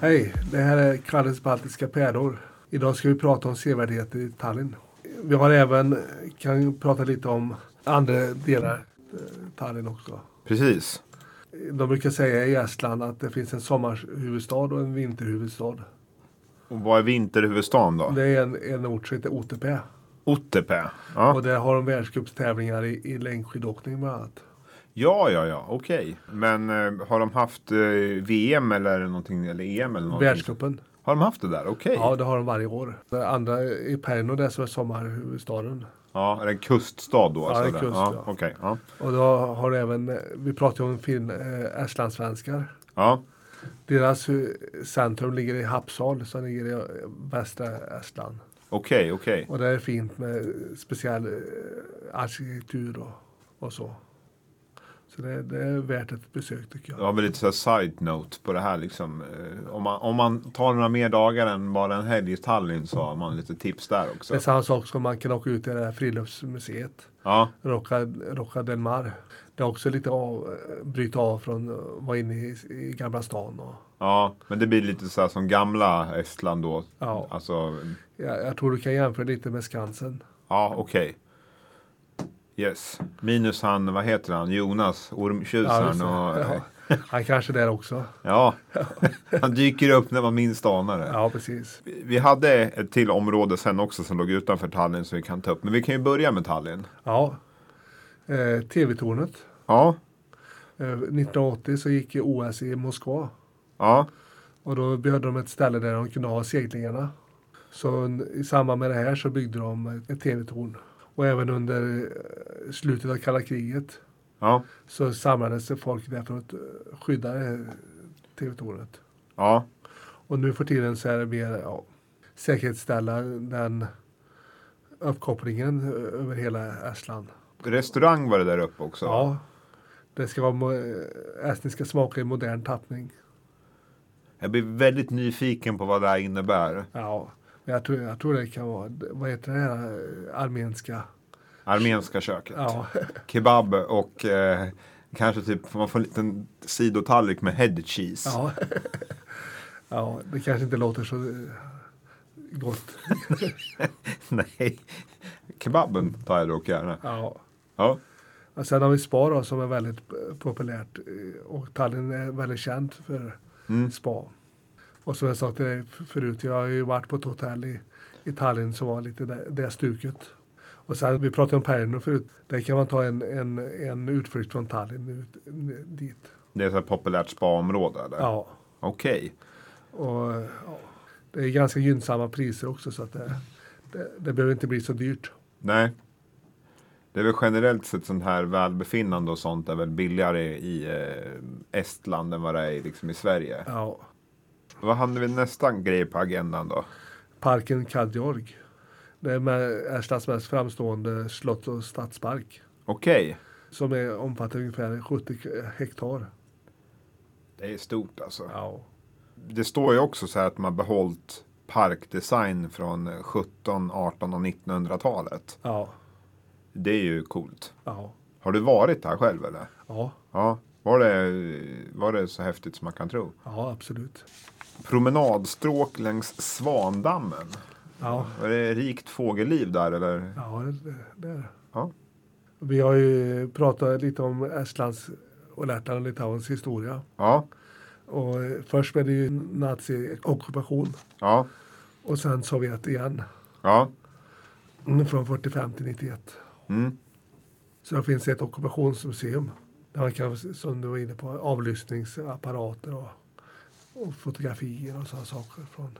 Hej, det här är Kalles baltiska pärlor. Idag ska vi prata om sevärdheter i Tallinn. Vi har även, kan prata lite om andra delar eh, Tallinn också. Precis. De brukar säga i Estland att det finns en sommarhuvudstad och en vinterhuvudstad. Och vad är vinterhuvudstaden då? Det är en, en ort som heter Otepää. Otepää. Ja, Och där har de världscupstävlingar i, i längdskidåkning bland annat. ja, ja, ja. okej. Men eh, har de haft eh, VM eller någonting? Eller EM eller någonting? Världscupen. Har de haft det där? Okej. Ja, det har de varje år. Det andra i Pärnu, det som är sommarhuvudstaden. Ja, är det en kuststad då? det är eller? kust, ja. ja. Okej, ja. Och då har det även, eh, vi pratar ju om fin, eh, estlandssvenskar. ja. Deras eh, centrum ligger i Hapsal som ligger i eh, västra Estland. Okej, okej. Och det är fint med speciell eh, arkitektur och, och så. Så det, det är värt ett besök tycker jag. Jag har väl lite så här side-note på det här liksom. Eh, Om man, om man tar några mer dagar än bara en helg i Tallinn så har man lite tips där också. Det är samma sak som man kan åka ut till det här friluftsmuseet. Ja, Rocca, Rocca del Mar. Det är också lite av, eh, bryta av från att vara inne i, i Gamla stan. Och, ja, men det blir lite så här som gamla Estland då. Ja. Alltså, jag, jag tror du kan jämföra lite med Skansen. ja okej. Yes. Minus han, vad heter han, Jonas, Ja, just ormtjusaren. det. Ja, och, Ja. Han kanske där också. ja. han dyker upp när man minst anar det. Ja, precis. Vi- Vi hade ett till område sen också som låg utanför Tallinn som vi kan ta upp. Men vi kan ju börja med Tallinn. Ja. Eh, TV-tornet. Ja, Eh, 1980 så gick ju OS i Moskva. ja, Och då behövde de ett ställe där de kunde ha seglingarna. Så un- i samband med det här så byggde de ett TV-torn. Och även under eh, slutet av kalla kriget ja, så samlades det folk där för att eh, skydda det här TV-tornet. ja. Och nu för tiden så är det mer ja, säkerhetsställa den uppkopplingen eh, över hela Estland. Restaurang var det där uppe också. Ja, det ska vara mo- eh, estniska smaker i modern tappning. Jag blir väldigt nyfiken på vad det här innebär. Ja, men jag tror, jag tror det kan vara, vad heter det här eh, armenska? Armenska köket. Ja, Kebab och eh, kanske typ, man får en liten sidotallrik med head cheese. ja. ja, det kanske inte låter så eh, gott. Nej. Kebaben tar jag dock gärna. Ja. Ja. Och sen har vi spa Alltså, då, som är väldigt eh, populärt eh, och Tallinn är väldigt känt för Mm. spa. Och som jag sa till dig f- förut, jag har ju varit på ett hotell i, i Tallinn som var lite det, det stuket. Och sen, vi pratade om Pärnu förut, där kan man ta en, en, en utflykt från Tallinn ut, n- dit. Det är ett så här populärt spaområde eller? Ja. Okej. Och, eh, ja. Det är ganska gynnsamma priser också så att det, det, det behöver inte bli så dyrt. Nej. Det är väl generellt sett sånt här välbefinnande och sånt är väl billigare i eh, Estland än vad det är i, liksom i Sverige. Ja. Vad hade vi nästa grej på agendan då? Parken Kadjorg. Det är med Estlands mest framstående slott och stadspark. Okej. Som är, omfattar ungefär 70 hektar. Det är stort alltså. Ja. Det står ju också så här att man behållit parkdesign från 17, 18 och 1900-talet. Ja. Det är ju coolt. Ja. Har du varit där själv eller? Ja. Ja. Var det, var det så häftigt som man kan tro? Ja, absolut. Promenadstråk längs Svandammen. Ja. Var det rikt fågelliv där eller? Ja, det, det, det är det. Ja. Vi har ju pratat lite om Estlands och Lettland och Litauens historia. Ja. Och eh, först blev det ju nazi-ockupation Ja. och sen Sovjet igen. Ja. Mm, Från 45 till 91. Mm. Så det finns ett ockupationsmuseum. Där man kan, som du var inne på, avlyssningsapparater och, och fotografier och sådana saker. Från.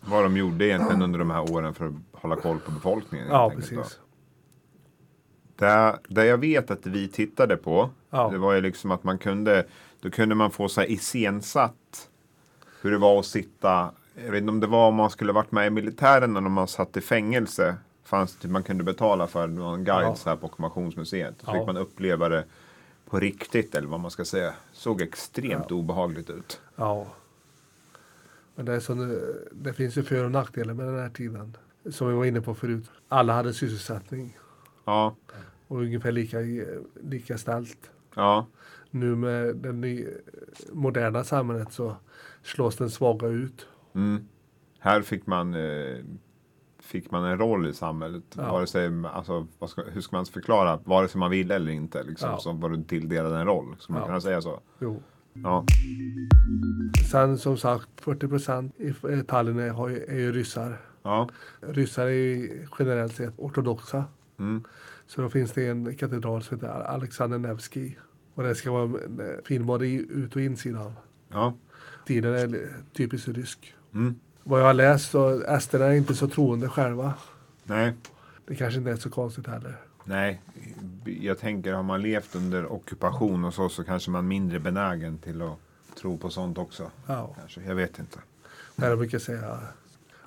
Vad de gjorde egentligen under de här åren för att hålla koll på befolkningen. helt Ja, enkelt, då. precis. Det, det jag vet att vi tittade på, Ja. det var ju liksom att man kunde, då kunde man få så här iscensatt hur det var att sitta, jag vet inte om det var om man skulle varit med i militären eller om man satt i fängelse. Fanns det, typ man kunde betala för någon guide Ja. så här på Ockupationsmuseet. Då Ja. fick man uppleva det på riktigt eller vad man ska säga. Såg extremt obehagligt ut. Ja. Men det, är som, det- det finns ju för och nackdelar med den här tiden. Som vi var inne på förut. Alla hade sysselsättning Ja, och ungefär lika, lika ställt. ja, Nu med det ny, moderna samhället så slås den svaga ut. Mm. Här fick man, eh, fick man en roll i samhället. Ja. Vare sig, alltså, vad ska, hur ska man förklara? Vare sig man vill eller inte. Liksom, Ja. Så var du tilldelad en roll. Ska man Ja. kunna säga så? Jo. Ja. Sen som sagt 40 procent i eh, Tallinn är, har ju- är ju ryssar. ja. Ryssar är ju generellt sett ortodoxa. Mm. Så då finns det en katedral som heter Alexander Nevsky. Och den ska vara eh, finbad i ut och insidan. ja. Stilen är typiskt rysk. Mm. Vad jag har läst så esterna är inte så troende själva. Nej. Det kanske inte är så konstigt heller. Nej, jag tänker har man levt under ockupation och så så kanske man är mindre benägen till att tro på sånt också. Ja. Kanske. Jag vet inte. Där jag brukar säga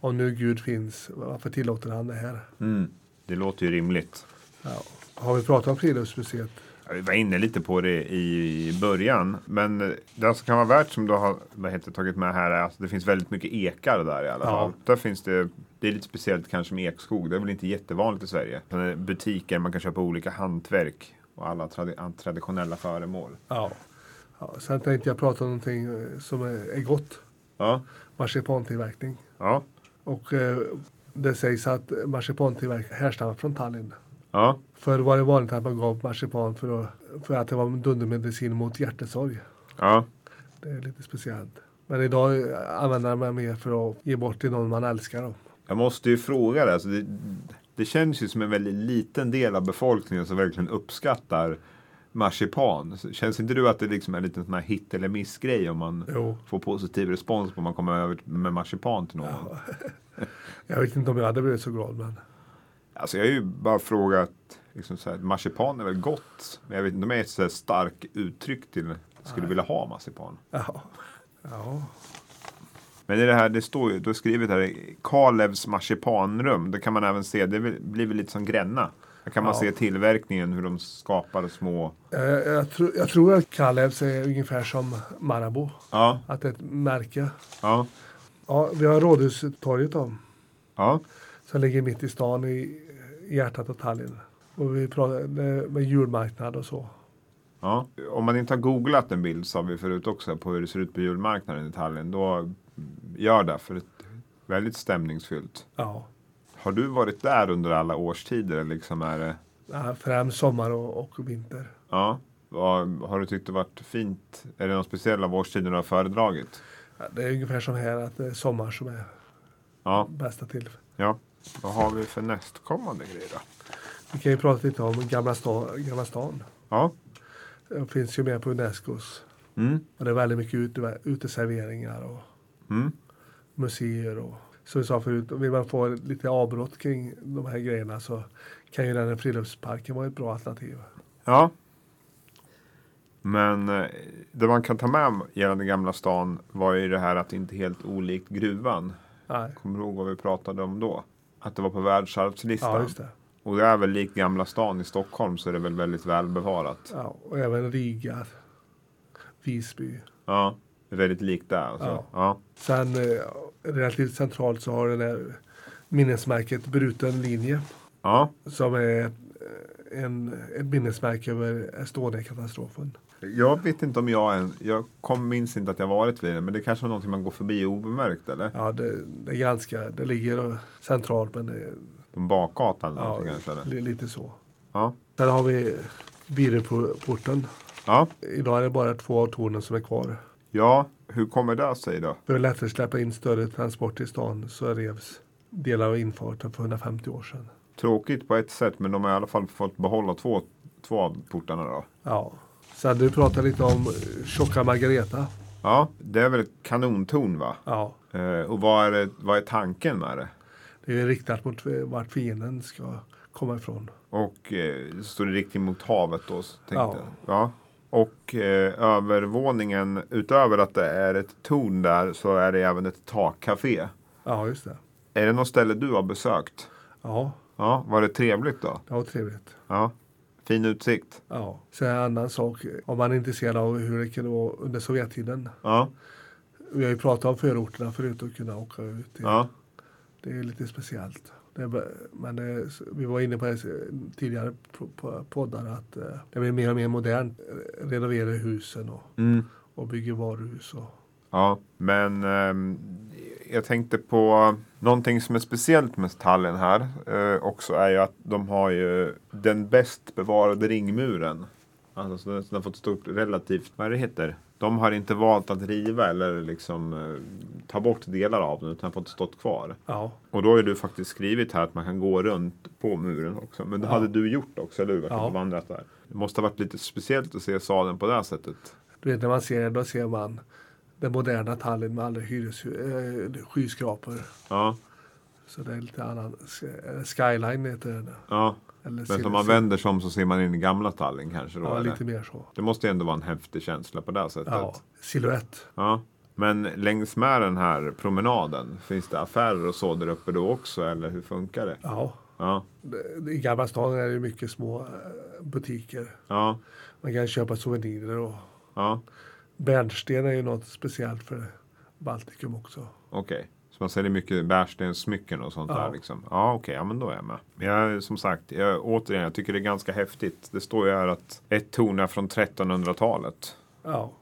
om nu Gud finns, varför tillåter han det här? Mm. Det låter ju rimligt. Ja. Har vi pratat om friluftsmuseet? Ja, Vi var inne lite på det i början. Men det som kan vara värt som du har vad heter, det, tagit med här är att det finns väldigt mycket ekar där i alla Ja. fall. Där finns det, det är lite speciellt kanske med ekskog. Det är väl inte jättevanligt i Sverige. Sen är det Butiker, man kan köpa olika hantverk och alla tradi- traditionella föremål. Ja. ja. Sen tänkte jag prata om någonting eh, som är är gott. Ja, Marsipantillverkning. ja, Och eh, det sägs att marsipantillverkning härstammar från Tallinn. ja. Förr var det vanligt att man gav marsipan för att, för att det var en dundermedicin mot hjärtesorg. ja. Det är lite speciellt. Men idag eh, använder man mer för att ge bort till någon man älskar. Då. Jag måste ju fråga dig. Alltså det, det känns ju som en väldigt liten del av befolkningen som verkligen uppskattar marsipan. Så Känns inte du att det liksom är en liten sån här hit eller miss-grej om man Jo. får positiv respons på om man kommer över med marsipan till någon? Jag vet inte om jag hade blivit så glad men Alltså jag har ju bara frågat, liksom så här, marsipan är väl gott? Men jag vet inte om jag är ett så här starkt uttryck till skulle vilja ha marsipan. ja. ja. Men i det här, det står ju, du har skrivit här, Kalevs marsipanrum. Det kan man även se, det är väl- blir väl lite som Gränna. Där kan man Ja. se tillverkningen, hur de skapar små... Jag, Eh, jag, tror- jag tror att Kalevs är ungefär som Marabou. Ja, Att det är ett märke. ja, Ja, vi har Rådhustorget då. ja. Som ligger mitt i stan i, i hjärtat av Tallinn. Och vi pratar eh, med julmarknad och så. ja. Om man inte har googlat en bild, sa vi förut också, på hur det ser ut på julmarknaden i Tallinn, då gör det. För det är väldigt stämningsfyllt. Ja. Har du varit där under alla årstider? Liksom är det, Ja, Främst sommar och, och vinter. ja. Vad- Har du tyckt det varit fint? Är det någon speciell av årstiderna du har föredragit? Ja, det är ungefär som här att det är sommar som är Ja, bästa tillfället. ja. Vad har vi för nästkommande grej då? Vi kan ju prata lite om Gamla, sta, gamla stan. Ja. Den finns ju med på Unescos. Mm. Och det är väldigt mycket ute, uteserveringar och Mm. museer och som vi sa förut, vill man få lite avbrott kring de här grejerna så kan ju den här friluftsparken vara ett bra alternativ. Ja. Men eh, det man kan ta med gällande Gamla stan var ju det här att det inte är helt olikt gruvan. Nej. Kommer du ihåg vad vi pratade om då? Att det var på världsarvslistan. Ja, just det. Och det är väl likt Gamla stan i Stockholm så är det väl väldigt välbevarat. Ja, och även Riga, Visby. Ja, det är väldigt likt där. Alltså. Ja. Ja. Sen eh, relativt centralt så har den här minnesmärket Bruten linje Ja. som är eh, en, ett minnesmärke över Estonia-katastrofen. Jag vet inte om jag än, jag kom, minns inte att jag varit vid det, men det kanske var någonting man går förbi obemärkt eller? Ja, det, det är ganska, det ligger eh, centralt men det, På en bakgata eller ja, någonting kanske? Eller? li- lite så. Ja. Sen har vi Bireporten. ja. Idag är det bara två av tornen som är kvar. Ja, hur kommer det sig då? För att lättare släppa in större transport i stan så revs delar av infarten för 150 år sedan. Tråkigt på ett sätt, men de har i alla fall fått behålla två, två av portarna då. Ja. Sen du pratade lite om eh, Tjocka Margareta. Ja, det är väl ett kanontorn va? Ja. Eh, och vad är, det, vad är tanken med det? Det är ju riktat mot eh, vart fienden ska komma ifrån. Och eh, står det riktigt mot havet då? så Tänkte Ja. ja. ja. Och eh, övervåningen, utöver att det är ett torn där, så är det även ett takcafé. Ja, just det. Är det något ställe du har besökt? Ja, Ja, var det trevligt då? det var trevligt. Ja, fin utsikt. Ja. Sen en annan sak, eh, om man är intresserad av hur det kunde vara under Sovjettiden. Ja, Vi har ju pratat om förorterna förut och kunna åka ut. till- ja. Det är lite speciellt. Det, b- men det, vi var inne på det eh, tidigare på- på poddar att eh, det blir mer och mer modernt. eh, Renovera husen och, Mm. och bygga varuhus. Och, Ja, men ehm, jag tänkte på någonting som är speciellt med Tallinn här eh, också är ju att de har ju den bäst bevarade ringmuren. Alltså så den så den har fått stort relativt, vad är det heter? De har inte valt att riva eller liksom eh, ta bort delar av den utan fått stått kvar. ja. Och då har ju du faktiskt skrivit här att man kan gå runt på muren också. Men det Ja. hade du gjort också, eller hur? Varit Ja. ute och vandrat där. Det måste ha varit lite speciellt att se salen på det här sättet. Du vet när man ser då ser man den moderna Tallinn med alla hyres, eh, skyskrapor. Ja, Så det är lite annan. eh, Skyline heter den. ja. Eller Men Silver- om man vänder sig om så ser man in i gamla Tallinn kanske då? Ja, eller? lite mer så. Det måste ju ändå vara en häftig känsla på det här sättet. Ja, Ja. silhuett. Men längs med den här promenaden, finns det affärer och så där uppe då också eller hur funkar det? Ja. Ja, Det- I Gamla stan är det mycket små eh, butiker. ja, Man kan köpa souvenirer och ja, bärnsten är ju något speciellt för Baltikum också. okej. Så man säljer mycket bärstenssmycken och sånt Ja. där liksom? Ja, okej, ja men då är jag med. Men jag, som sagt, jag, återigen, jag tycker det är ganska häftigt. Det står ju här att ett torn är från 1300-talet. Ja,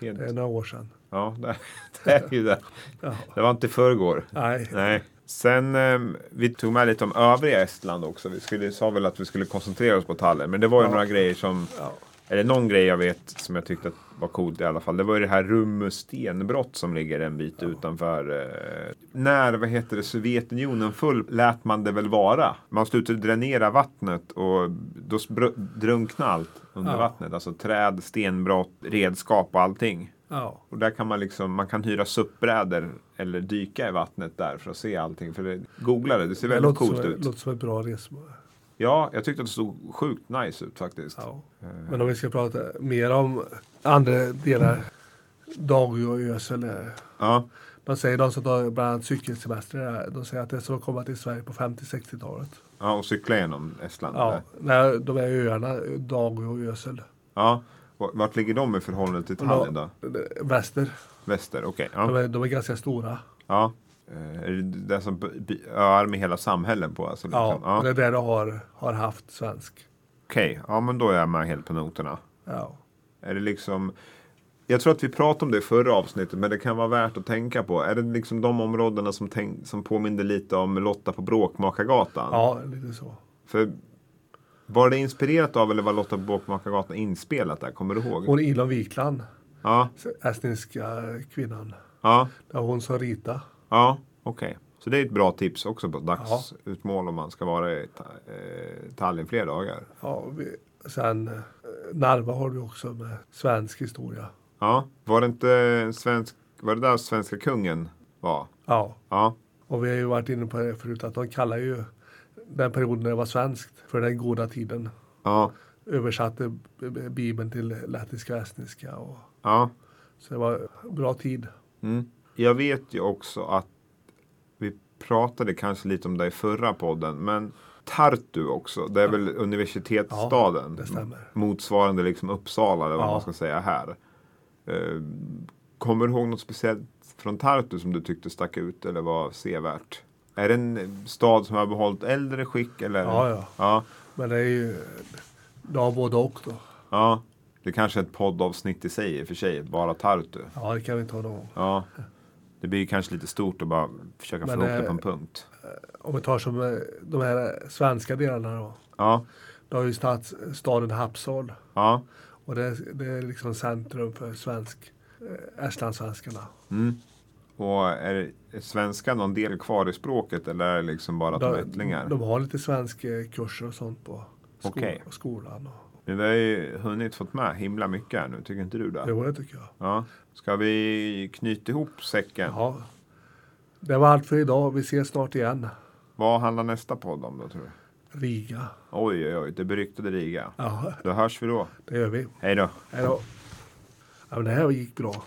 Helt, det är några år sedan. ja, det, det är ju det. Ja. Det var inte i förrgår. Nej, Nej. Sen, eh, vi tog med lite om övriga Estland också. Vi skulle, sa väl att vi skulle koncentrera oss på Tallinn. Men det var ju Ja. några grejer som, ja, eller någon grej jag vet som jag tyckte att var coolt i alla fall. Det var ju det här Rummus stenbrott som ligger en bit utanför. Eh, när, vad heter det, Sovjetunionen full lät man det väl vara. Man slutade dränera vattnet och då spr- drunknade allt under Ja. vattnet. Alltså träd, stenbrott, redskap och allting. ja, Och där kan man liksom, man kan hyra suppbrädor eller dyka i vattnet där för att se allting. För det, googla det, det ser det väldigt låter coolt som, ut. låter som ett bra resmål. Ja, jag tyckte att det såg sjukt nice ut faktiskt. Ja. Men om vi ska prata mer om andra delar, dagös eller Ja, man säger de som tar bland annat cykelsemester, eh, de säger att det är som att komma till Sverige på 50-60-talet. ja och cykla genom Estland. Ja, eller? när de här öarna, Dagö och Ösel. ja. Vart vart ligger de i förhållande till Tallinn då? eh, Väster. Väster, okej. De Ja. är, de är ganska stora. ja. Eh, Är det det som by- by- öar med hela samhällen på? Alltså, liksom. Ja, ja. Det är där de har, har haft svensk. Okej, ja men då är jag med helt på noterna. Ja. Är det liksom, jag tror att vi pratade om det i förra avsnittet, men det kan vara värt att tänka på. Är det liksom de områdena som, tänk, som påminner lite om Lotta på Bråkmakargatan? ja, lite så. För, var det inspirerat av eller var Lotta på Bråkmakargatan inspelat där? Kommer du ihåg? Hon Ilon Wikland, Ja, estniska kvinnan, ja, det var hon som ritade. ja, okej. Så det är ett bra tips också på dagsutmål om man ska vara i Ta- eh, Tallinn fler dagar. Ja, vi, sen eh, Narva har vi också med svensk historia. Ja, var det inte en svensk, var det där svenska kungen var? Ja, Ja, och vi har ju varit inne på det förut att de kallar ju den perioden när det var svenskt för den goda tiden. ja, Översatte b- b- Bibeln till lettiska och estniska. Och, ja. så det var bra tid. Mm. Jag vet ju också att vi pratade kanske lite om det i förra podden, men Tartu också, det är väl universitetsstaden? Det stämmer. motsvarande liksom Uppsala eller vad Ja. man ska säga här. Eh, Kommer du ihåg något speciellt från Tartu som du tyckte stack ut eller var sevärt? Är det en stad som har behållit äldre skick? Eller? Ja, ja. ja. Men det är ju det har både och då. ja. Det kanske är ett poddavsnitt i sig i och för sig, bara Tartu. Ja, det kan vi ta någon gång. Ja. Det blir ju kanske lite stort att bara försöka få Men, ihop det på eh, en punkt. Om vi tar som eh, de här svenska delarna då. Ja, Då har ju stads, staden Hapsal ja. och det, är- det är liksom centrum för svensk, eh, estlandssvenskarna. Mm. Och är, är svenska någon del kvar i språket eller är det liksom bara att de är ättlingar? de har lite svenska kurser och sånt på sko- Okej. skolan. Och, Men vi har ju hunnit fått med himla mycket här nu, tycker inte du det? jo, det tycker jag. Ja. Ska vi knyta ihop säcken? Ja. Det var allt för idag. Vi ses snart igen. Vad handlar nästa podd om då tror du? Riga. Oj, oj, oj, det beryktade Riga. Ja, Då hörs vi då. det gör vi. Hej då. Hej då. Ja, men det här gick bra.